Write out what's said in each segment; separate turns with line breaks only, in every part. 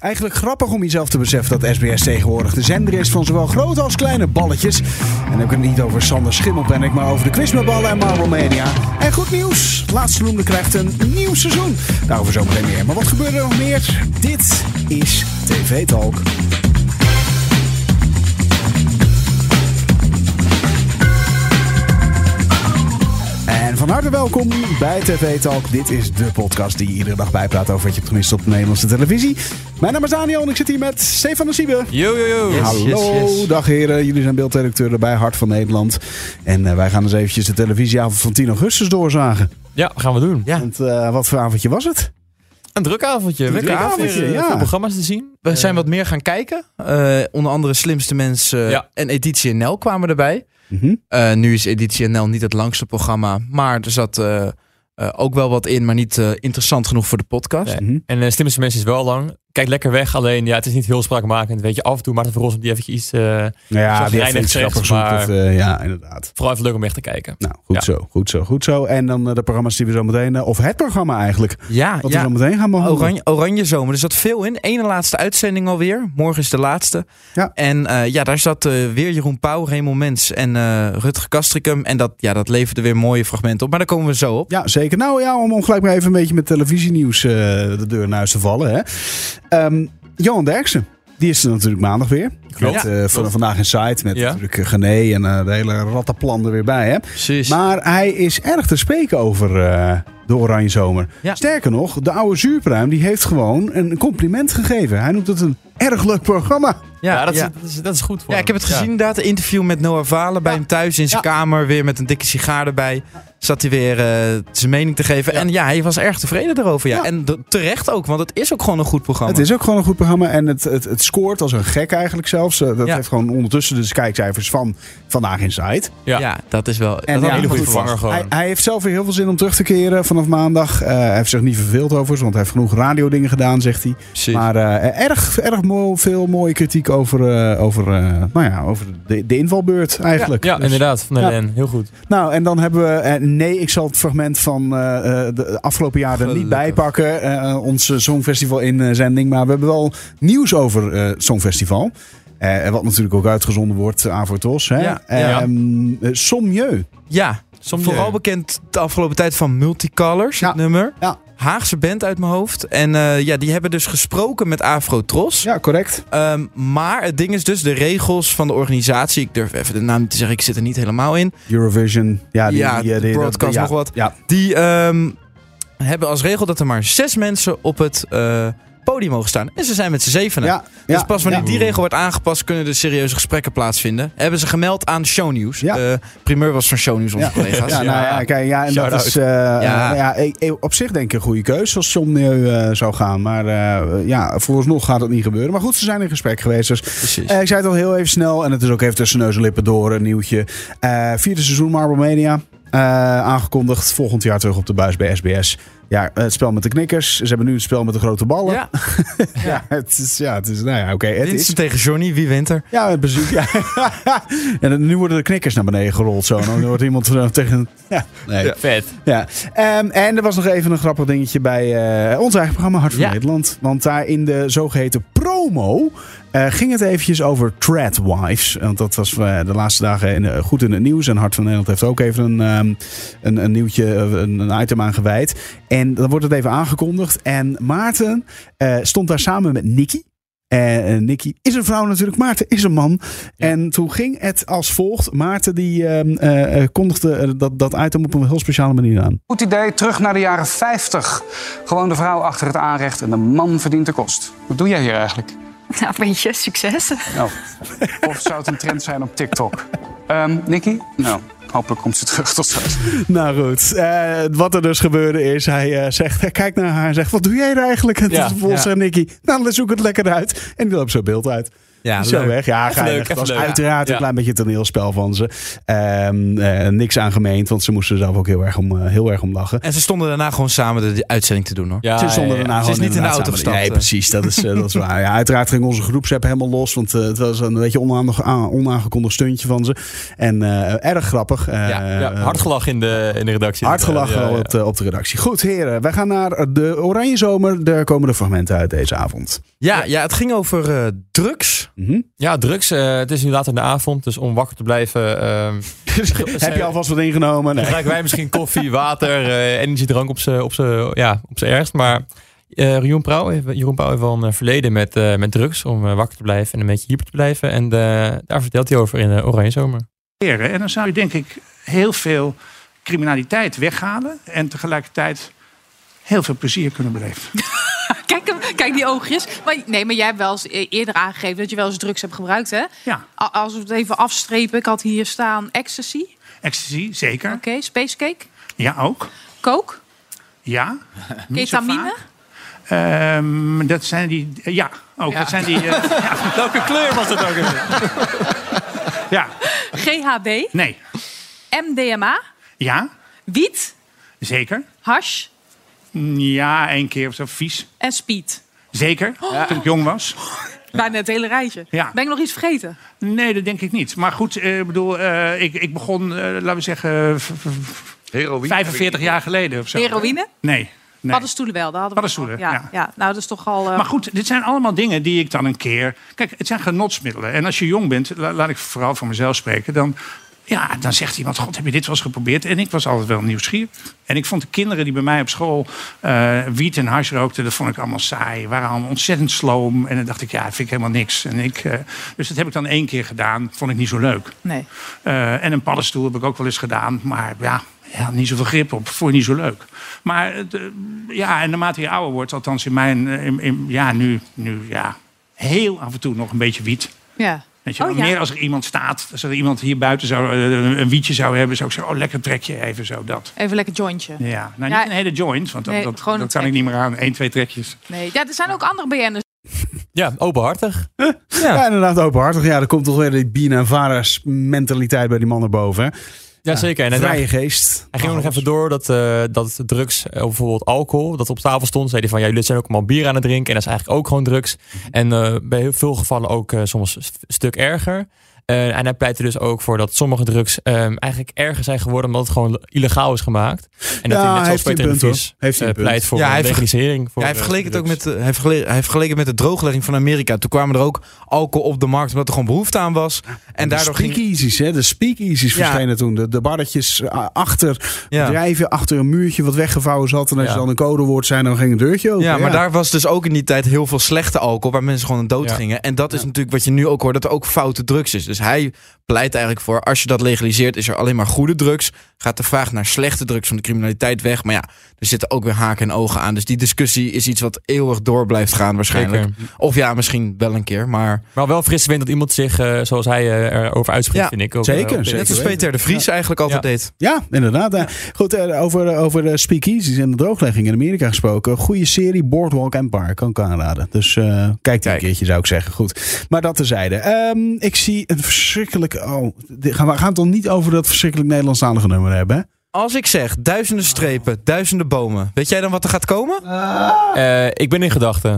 Eigenlijk grappig om jezelf te beseffen dat SBS tegenwoordig de zender is van zowel grote als kleine balletjes. En dan heb ik het niet over Sander Schimmelpennik, maar over de quiz met ballen en Marble Mania. En goed nieuws, laatste noemde krijgt een nieuw seizoen. Daarover zometeen meer. Maar wat gebeurde er nog meer? Dit is TV Talk. En van harte welkom bij TV Talk. Dit is de podcast die je iedere dag bijpraat over wat je hebt gemist op de Nederlandse televisie. Mijn naam is Daniel en ik zit hier met Stefan de Siebe.
Yo, yo, yo.
Hallo, dag heren. Jullie zijn beeldredacteuren bij Hart van Nederland. En eh, wij gaan eens eventjes de televisieavond van 10 augustus doorzagen.
Ja, gaan we doen.
Ja,
Want eh, wat voor avondje was het?
Een druk avondje. We
Een druk
kregen
avondje,
weer, eh,
ja.
veel programma's te zien.
we zijn wat meer gaan kijken. Eh, onder andere Slimste Mens eh,
Ja. Mhm.
en Editie NL kwamen erbij. Eh, nu is Editie NL niet het langste programma. Maar er zat eh, eh, ook wel wat in, maar niet eh, interessant genoeg voor de podcast.
Nee.
Mhm.
En eh Slimmeste Mensen is wel lang. Kijk lekker weg, alleen ja, het is niet heel spraakmakend. Weet je, af en toe maakt het voor ons om die even iets... eh,
Ja,
Zoals
die heeft
Reinig
iets
zegt,
grappigs zoekt.
maar-
dat, eh, ja, inderdaad.
vooral even leuk om weg te kijken.
Nou, goed
Ja.
zo, goed zo, goed zo. En dan eh, de programma's die we zo meteen, eh, of het programma eigenlijk,
Ja,
wat we zo meteen gaan behandelen.
Oranje, oranje zomer, er zat veel in. Ene laatste uitzending alweer. Morgen is de laatste.
Ja.
En eh, ja, daar zat eh, weer Jeroen Pauw, Raymond Mens en eh Rutger Kastricum. En dat, ja, dat leverde weer mooie fragmenten op. Maar daar komen we zo op.
Ja, zeker. Nou ja, om, om gelijk maar even een beetje met televisienieuws eh, de deur naar huis te vallen. Hè. Ehm, Johan Derksen, die is er natuurlijk maandag weer. Met,
Klopt.
eh, van
klopt.
vandaag in site met
Ja.
natuurlijk eh, Gené en eh, de hele rattenplan er weer bij. Hè.
Precies.
Maar hij is erg te spreken over eh, de Oranje Zomer.
Ja.
Sterker nog, de oude zuurpruim die heeft gewoon een compliment gegeven. Hij noemt het een erg leuk programma.
Ja, dat, Is, dat, is, dat is goed voor
Ja, ik heb het
hem.
gezien inderdaad. Een interview met Noah Valen bij hem thuis in zijn
Ja.
kamer. Weer met een dikke sigaar erbij. Zat hij weer eh, zijn mening te geven. En ja, hij was erg tevreden daarover. Ja.
Ja.
En de- terecht ook, want het is ook gewoon een goed programma.
Het is ook gewoon een goed programma en het, het, het scoort als een gek eigenlijk zelfs. Eh, dat
Ja.
heeft gewoon ondertussen de kijkcijfers van Vandaag in Site.
Ja.
ja. dat is wel...
En
dat
ja,
had ik
hele
nog
goede
niet verwacht.
vervanger gewoon.
Hij, hij heeft zelf weer heel veel zin om terug te keren vanaf maandag. Eh, hij heeft zich niet verveeld overigens, want hij heeft genoeg radiodingen gedaan, zegt hij.
Precies.
Maar eh, erg, erg mo- veel mooie kritiek over, eh, over, eh, nou ja, over de, de invalbeurt eigenlijk.
Ja,
Dus-
inderdaad. Van de
Ja.
LN. Heel goed.
Nou, en dan hebben we... eh, nee, ik zal het fragment van eh, eh, de afgelopen jaar er niet
Gelukkig.
bij pakken. eh, eh, ons eh, Songfestival inzending. Maar we hebben wel nieuws over eh, het Songfestival. Eh, wat natuurlijk ook uitgezonden wordt aan voor TOS. Hè?
Ja,
ja.
Ehm, eh, Sommieu.
Ja,
Soms eh,
vooral bekend de afgelopen tijd van Multicolors,
Ja.
het nummer.
Ja.
Haagse band uit mijn hoofd. En eh, ja, die hebben dus gesproken met Afro Tros.
Ja, correct.
Ehm, maar het ding is dus, de regels van de organisatie... Ik durf even de naam niet te zeggen, ik zit er niet helemaal in.
Eurovision. Ja, die,
Ja,
die-
de
die-
broadcast
ja,
nog wat.
Ja,
Die ehm, hebben als regel dat er maar zes mensen op het eh, podium mogen staan. En ze zijn met z'n zevenen.
ja,
Dus
ja,
pas wanneer
ja.
die regel wordt aangepast, kunnen er serieuze gesprekken plaatsvinden. Hebben ze gemeld aan Shownieuws.
Ja.
De primeur was van Shownieuws, onze
Ja.
collega's.
Ja, nou ja, kijk, ja, en dat
Shout-out.
is eh,
Ja.
eh, ja, ik- ik- op zich denk ik een goede keus als Somnieu eh, zou gaan. Maar eh ja, vooralsnog gaat dat niet gebeuren. Maar goed, ze zijn in gesprek geweest. Dus
Precies.
Eh, ik zei het al heel even snel. En het is ook even tussen neus en lippen door een nieuwtje. Eh, vierde seizoen Marble Mania. eh, aangekondigd. Volgend jaar terug op de buis bij SBS. Ja, het spel met de knikkers. Ze hebben nu het spel met de grote ballen.
Ja,
Ja, het is, ja, het is, nou ja, oké. het
dit
is,
is tegen Johnny, wie wint er?
ja, het bezoek. Ja. en nu worden de knikkers naar beneden gerold zo. En dan wordt iemand eh, tegen... Ja, nee. Ja.
Vet.
Ehm, en er was nog even een grappig dingetje bij eh, ons eigen programma Hart van
Ja.
Nederland. Want daar in de zogeheten promo eh, ging het eventjes over tradwives. Want dat was eh, de laatste dagen in, eh, goed in het nieuws. En Hart van Nederland heeft ook even een, ehm, een, een nieuwtje, eh, een, een item aan gewijd. En dan wordt het even aangekondigd. En Maarten eh, stond daar samen met Nicky. En Nicky is een vrouw natuurlijk, Maarten is een man.
Ja.
En toen ging het als volgt. Maarten die ehm, eh, eh, kondigde eh, dat, dat item op een heel speciale manier aan.
Goed idee, terug naar de jaren 50. Gewoon de vrouw achter het aanrecht en de man verdient de kost. Wat doe jij hier eigenlijk?
Nou, een beetje succes.
Nou, of zou het een trend zijn op TikTok? Ehm Nicky? Nou, hopelijk komt ze terug tot straks.
Nou goed, eh, wat er dus gebeurde is, hij eh, zegt, hij kijkt naar haar en zegt, wat doe jij er eigenlijk? En
Ja,
toen vervolgens
ja.
zei Nicky, nou dan zoek het lekker uit. En die loopt zijn beeld uit.
Ja,
Zo
leuk.
weg. Ja,
Even leuk,
geinig.
even
Het was
leuk.
uiteraard
Ja.
een klein beetje een toneelspel van ze. Ehm, eh, niks aan gemeend, want ze moesten er zelf ook heel erg om, eh, heel erg om lachen.
En ze stonden daarna gewoon samen de, die uitzending te doen hoor.
Ja,
Ze is zonder
Ah, ja,
daarna
ja.
Ze is
gewoon
niet in de
inderdaad
auto
samen-
gestapt,
Nee,
hè?
precies. Dat is, eh, dat is waar. Ja, uiteraard ging onze groepsapp helemaal los. Want eh, het was een beetje onaange- a- onaangekondigd stuntje van ze. En eh, erg grappig. Eh,
Ja,
eh,
hard gelach in de, in de redactie.
Hard gelachen
Ja, ja.
Op, de, op de redactie. Goed, heren. Wij gaan naar de Oranje Zomer. Daar komen de fragmenten uit deze avond.
Ja, ja, het ging over eh, drugs.
Mhm.
Ja, drugs. eh, het is nu laat in de avond, dus om wakker te blijven. ehm
Heb je alvast wat ingenomen? Nee.
gebruiken wij misschien koffie, water, eh energiedrank op z'n op z'n- ja, op z'n ergst. Maar eh Jeroen Pauw heeft, Jeroen Pauw heeft wel een eh, verleden met, eh, met drugs om eh, wakker te blijven en een beetje hyper te blijven. En eh, daar vertelt hij over in eh, Oranje Zomer.
leren. En dan zou je denk ik heel veel criminaliteit weghalen en tegelijkertijd heel veel plezier kunnen beleven.
Kijk, hem, kijk die oogjes. Maar, nee, maar jij hebt wel eens e- eerder aangegeven dat je wel eens drugs hebt gebruikt, hè?
Ja,
A- Als we het even afstrepen, ik had hier staan ecstasy.
ecstasy, zeker.
Oké, spacecake.
Ja, ook.
Coke.
Ja. Niet zo
Ketamine.
vaak. Ehm, dat zijn die... Ja, ook. Dat zijn die... eh, ja.
Welke kleur was dat ook?
ja,
GHB.
nee.
MDMA.
Ja,
Wiet.
zeker.
Hash.
Ja, één keer of zo vies.
En speed.
Zeker,
Oh.
toen ik jong was.
Bijna het hele rijtje.
Ja.
Ben ik nog iets vergeten?
Nee, dat denk ik niet. Maar goed, eh, ik bedoel, eh, ik, ik begon, eh, laten we zeggen, v- v-
Heroïne.
45 jaar geleden of zo.
Heroïne.
Nee. nee.
Paddenstoelen wel. Daar hadden we
Paddenstoelen,
ja, ja.
ja.
nou dat is toch al... eh,
Maar goed, dit zijn allemaal dingen die ik dan een keer. Kijk, het zijn genotsmiddelen. En als je jong bent, la- laat ik vooral voor mezelf spreken, dan. Ja, dan zegt iemand, god, heb je dit wel eens geprobeerd? En ik was altijd wel nieuwsgierig. En ik vond de kinderen die bij mij op school eh, wiet en hash rookten... dat vond ik allemaal saai. waren allemaal ontzettend sloom. En dan dacht ik, ja, vind ik helemaal niks. En ik, eh, dus dat heb ik dan één keer gedaan. Vond ik niet zo leuk.
nee.
Eh, en een paddenstoel heb ik ook wel eens gedaan. Maar ja, ja niet zoveel grip op. Vond je niet zo leuk. Maar het, eh, ja, en naarmate je ouder wordt, althans in mijn... eh, in- in- ja, nu, nu ja, heel af en toe nog een beetje wiet.
Ja.
Weet je,
Oh,
wel.
ja.
Meer als er iemand staat, als er iemand hier buiten zou, eh, een wietje zou hebben... zou ik zeggen, oh, lekker trek je even zo, dat.
Even lekker jointje.
Ja, nou,
Ja,
niet een hele joint, want dat,
nee,
dat,
gewoon een
dat kan ik
trek.
niet meer aan. Eén, twee trekjes.
Nee. Ja, er zijn ook andere BN'ers.
Ja, openhartig.
Ja, inderdaad, openhartig. Ja, er komt toch weer die Binavaras mentaliteit bij die man naar boven. hè?
Jazeker. En hij,
Vrije
hij
geest.
ging ook
Oh,
nog even door dat, eh, dat drugs, eh, bijvoorbeeld alcohol, dat op tafel stond. Zei hij van, ja, jullie zijn ook allemaal bier aan het drinken. En dat is eigenlijk ook gewoon drugs. En eh, bij heel veel gevallen ook eh, soms een st- stuk erger. Eh, en hij pleitte dus ook voor dat sommige drugs eh, eigenlijk erger zijn geworden omdat het gewoon illegaal is gemaakt. En dat
Ja,
hij
heeft hij
net zoals Peter
een
en de
punt,
Vries
hoor. Heeft hij een
eh,
punt.
pleit voor
Ja, hij
een
heeft ge-
legalisering. Voor,
Ja, hij
eh,
vergeleek het ook
drugs.
met, de- hij vergeleek, hij vergeleek het met de drooglegging van Amerika. Toen kwamen er ook alcohol op de markt omdat er gewoon behoefte aan was. En
de
daardoor ging...
speakeasies, hè? De speakeasies
Ja.
verschenen toen. De, de barretjes eh, achter
Ja.
bedrijven, achter een muurtje wat weggevouwen zat. En als
Ja.
je dan een codewoord zei, dan ging een deurtje open.
Ja, maar daar was dus ook in die tijd heel veel slechte alcohol waar mensen gewoon aan dood
Ja.
gingen. En dat is natuurlijk wat je nu ook hoort, dat er ook foute drugs is. Dus hij pleit eigenlijk voor, als je dat legaliseert, is er alleen maar goede drugs. Gaat de vraag naar slechte drugs van de criminaliteit weg. Maar ja, er zitten ook weer haken en ogen aan. Dus die discussie is iets wat eeuwig door blijft gaan waarschijnlijk.
Zeker.
Of ja, misschien wel een keer, maar...
Maar wel frisse wind dat iemand zich, eh, zoals hij eh, erover uitspreekt,
Ja,
vind ik. Ook,
zeker,
eh, op-
zeker.
Net als Peter de Vries eigenlijk altijd deed.
Ja, inderdaad. Eh, Goed, eh, over, eh, over de speakeasies en de drooglegging in Amerika gesproken. Goede serie Boardwalk Empire, kan ik aanraden. Dus eh, kijk die een
Kijk.
keertje, zou ik zeggen. Goed, maar dat terzijde. Ehm ik zie een verschrikkelijk... Oh, dit- gaan we gaan het dan niet over dat verschrikkelijk Nederlandstalige nummer hebben, hè?
Als ik zeg duizenden strepen, duizenden bomen, weet jij dan wat er gaat komen?
Eh, ik ben in gedachten.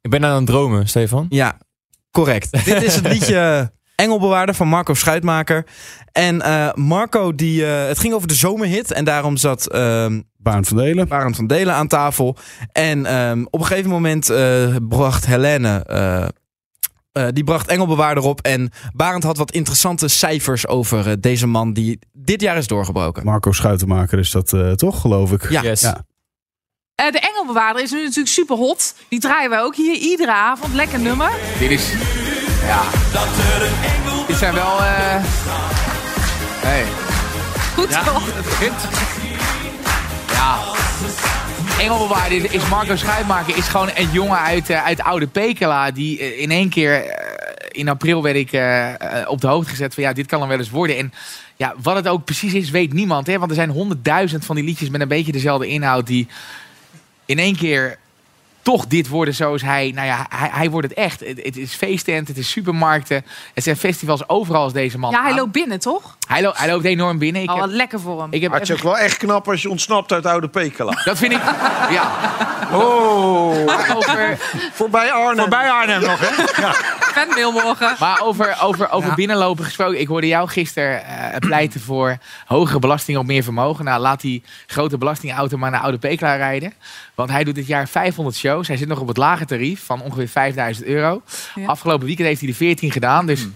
Ik ben aan het dromen, Stefan.
Ja, correct. Dit is het liedje eh, Engelbewaarder van Marco Schuitmaker. En eh, Marco, die, eh, het ging over de zomerhit. En daarom zat ehm
Baan van Delen.
Barend van Delen aan tafel. En ehm, op een gegeven moment eh, bracht Helene... eh, eh, die bracht Engelbewaarder op. En Barend had wat interessante cijfers over eh, deze man die dit jaar is doorgebroken.
Marco Schuitenmaker is dat eh, toch, geloof ik?
Ja.
Yes.
Ja.
Eh, de Engelbewaarder is nu natuurlijk super hot. Die draaien wij ook hier iedere avond. Lekker nummer.
Dit is... Ja. Dit zijn wel... eh Hey.
Goed zo.
Het begint. Ja. Engelwaarde is Marco Schuitmaker is gewoon een jongen uit, eh, uit Oude Pekela. Die eh, in één keer eh, in april werd ik eh, eh, op de hoogte gezet van ja, dit kan er wel eens worden. En ja, wat het ook precies is, weet niemand. Hè? Want er zijn honderdduizend van die liedjes met een beetje dezelfde inhoud die in één keer toch dit worden zoals hij... Nou ja, hij, hij wordt het echt. Het, het is feesttent, het is supermarkten. Het zijn festivals overal als deze man
Ja, hij
aan-
loopt binnen, toch?
hij, loopt- hij loopt enorm binnen. Ik
oh, wat
heb,
lekker voor hem.
ik heb
Maar het is ook wel echt knap als je ontsnapt uit Oude Pekela.
Dat vind ik... Ja. Oh. Over,
Voorbij Arnhem.
Voorbij Arnhem nog, hè?
Fanmail morgen.
Maar over, over, over binnenlopen gesproken. Ik hoorde jou gisteren eh, pleiten voor hogere belasting op meer vermogen. Nou, laat die grote belastingauto maar naar Oude Pekela rijden. Want hij doet dit jaar 500 shows. Hij zit nog op het lage tarief van ongeveer 5000 euro.
Ja. Hmm.
Afgelopen weekend heeft hij de 14 gedaan. Dus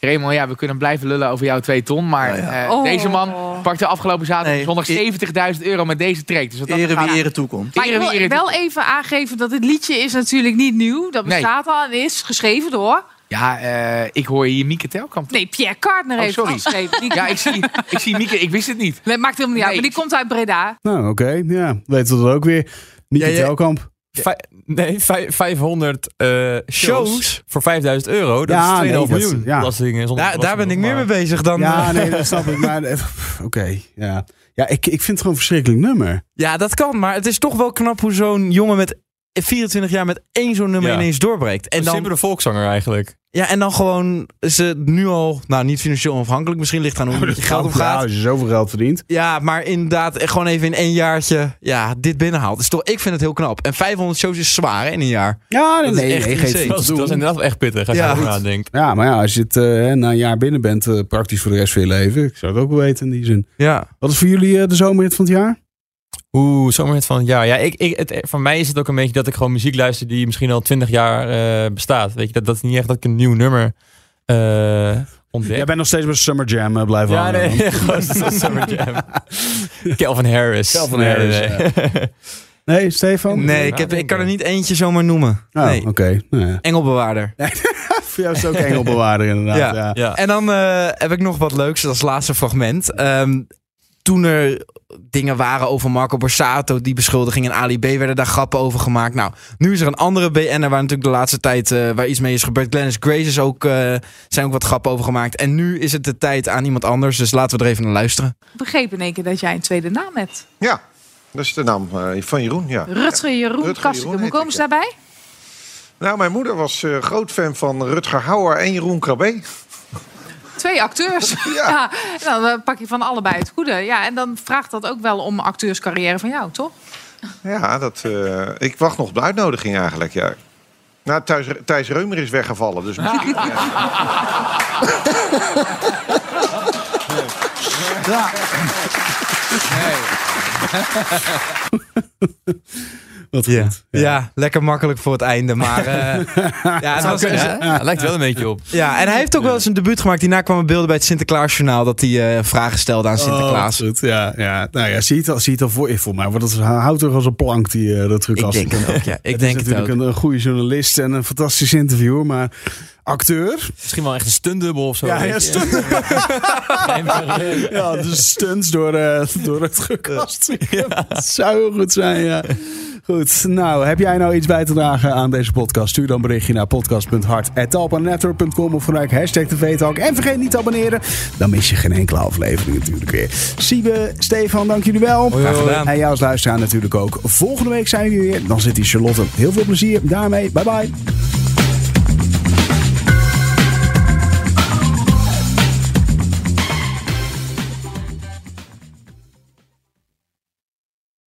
Raymond, ja, we kunnen blijven lullen over jouw 2 ton. Maar eh,
Oh.
deze man pakte afgelopen
Nee,
zaterdag dus 170.000 euro met deze track. Dus wat dat
Ere wie
gaat-
ere toekomt.
Maar ik
Ere wie
wil
ere
wel even aangeven dat het liedje is natuurlijk niet nieuw. Dat
Nee.
bestaat al en is geschreven door...
Ja, eh, ik hoor hier Mieke Telkamp.
Nee, Pierre Cardner
Oh,
heeft het
sorry.
geschreven. Die...
Ja, ik zie, ik zie Mieke. Ik wist het niet.
Nee, maakt helemaal niet uit,
Nee.
maar die komt uit Breda.
Nou, oké. Ja, weten we dat ook weer. Mieke
Ja, ja.
Telkamp.
Vij- nee, vij- 500 eh, shows
Shows.
voor 5000 euro. Dat
Ja,
is 2,5
nee, dat-
miljoen.
ja.
Belasting, eh, zonder
Daar, daar ben
belasting,
ik meer
maar-
mee bezig dan...
Ja,
eh,
Oh, nee, dat snap ik. Maar eh, pff, oké, ja. Ja, ik, ik vind het gewoon een verschrikkelijk nummer.
ja, dat kan. Maar het is toch wel knap hoe zo'n jongen met 24 jaar met één zo'n nummer
Ja.
ineens doorbreekt. En
Een
dan,
simpele volkszanger eigenlijk.
ja, en dan gewoon ze nu al, nou niet financieel onafhankelijk, misschien ligt het aan hoe het met je geld
Nou,
omgaat.
als je zoveel geld verdient.
Ja, maar inderdaad, eh, gewoon even in één jaartje ja, dit binnenhaalt. Dus toch, ik vind het heel knap. En 500 shows is zwaar hè, in een jaar.
Ja, nee,
Dat is
nee,
echt
nee, geeft
insane.
veel
Dat is,
te doen.
dat is inderdaad wel echt pittig als
Ja,
je erover
goed.
nadenkt.
Ja, maar ja, als je het eh, hè, na een jaar binnen bent, eh, praktisch voor de rest van je leven. Ik zou het ook wel weten in die zin.
Ja.
Wat is voor jullie eh, de zomerhit van het jaar?
Oeh, zomaar het van ja. ja ik, ik, het, voor mij is het ook een beetje dat ik gewoon muziek luister die misschien al 20 jaar eh, bestaat. Weet je, dat, dat is niet echt dat ik een nieuw nummer eh ontdek.
Jij bent nog steeds bij Summer Jam eh, blijven
ja,
hangen.
nee, gast, dat is Summer Jam. Calvin Harris.
Calvin
Nee,
Harris,
nee, nee.
Nee, Stefan?
Nee, ik, heb, ik kan er niet eentje zomaar noemen.
Oh,
Nee.
oké. Nou ja.
Engelbewaarder.
Voor jou is het ook engelbewaarder inderdaad. Ja.
Ja.
Ja.
En dan eh, heb ik nog wat leuks als laatste fragment. Ehm, toen er dingen waren over Marco Borsato, die beschuldiging en Ali B, werden daar grappen over gemaakt. Nou, nu is er een andere BN'er waar natuurlijk de laatste tijd eh, waar iets mee is gebeurd. Glennis Grace is ook, eh, zijn ook wat grappen over gemaakt. En nu is het de tijd aan iemand anders, dus laten we er even naar luisteren.
Ik begreep in één keer dat jij een tweede naam hebt.
Ja, dat is de naam eh, van Jeroen, ja.
Rutger Jeroen
Rutger
Kastikum.
Jeroen
Hoe
heet
komen
ik,
ze daarbij?
Nou, mijn moeder was eh, groot fan van Rutger Hauer en Jeroen Krabbe.
Twee acteurs. Ja. dan eh, pak je van allebei het goede. Ja, en dan vraagt dat ook wel om acteurscarrière van jou, toch?
Ja, dat, eh, ik wacht nog op de uitnodiging eigenlijk, ja. Nou, Thijs, Thijs Reumer is weggevallen, dus misschien...
Wat
Ja,
goed.
ja. lekker makkelijk voor het einde, maar... eh, ja, het was-
Ja, lijkt wel een beetje op.
ja, en hij heeft ook wel eens een debuut gemaakt. Daarna kwamen beelden bij het Sinterklaasjournaal dat hij eh, vragen stelde aan Sinterklaas.
Oh, wat goed. Ja, ja. Nou ja, zie je het al, zie je het al voor je. Volgens mij wordt het houdt toch als een plank, die eh Rutger
ik
Kastikum.
denk het ook, ja. Ik
Het is
denk het ook.
natuurlijk een, een goede journalist en een fantastisch interviewer, maar acteur.
Misschien wel echt een stuntdubbel of zo.
Ja,
weet
ja,
je.
stunt, ja, dus stunts door, eh, door het gekast. Dat zou heel goed zijn, ja. Goed, nou, heb jij nou iets bij te dragen aan deze podcast? Stuur dan een berichtje naar podcast.hart.talpanetwork.com of gebruik hashtag TVTalk. En vergeet niet te abonneren, dan mis je geen enkele aflevering natuurlijk weer. Siebe, Stefan, dank jullie wel.
Graag gedaan.
En jou als luisteraar natuurlijk ook. Volgende week zijn jullie weer. Dan zit die Charlotte. Heel veel plezier daarmee. Bye bye.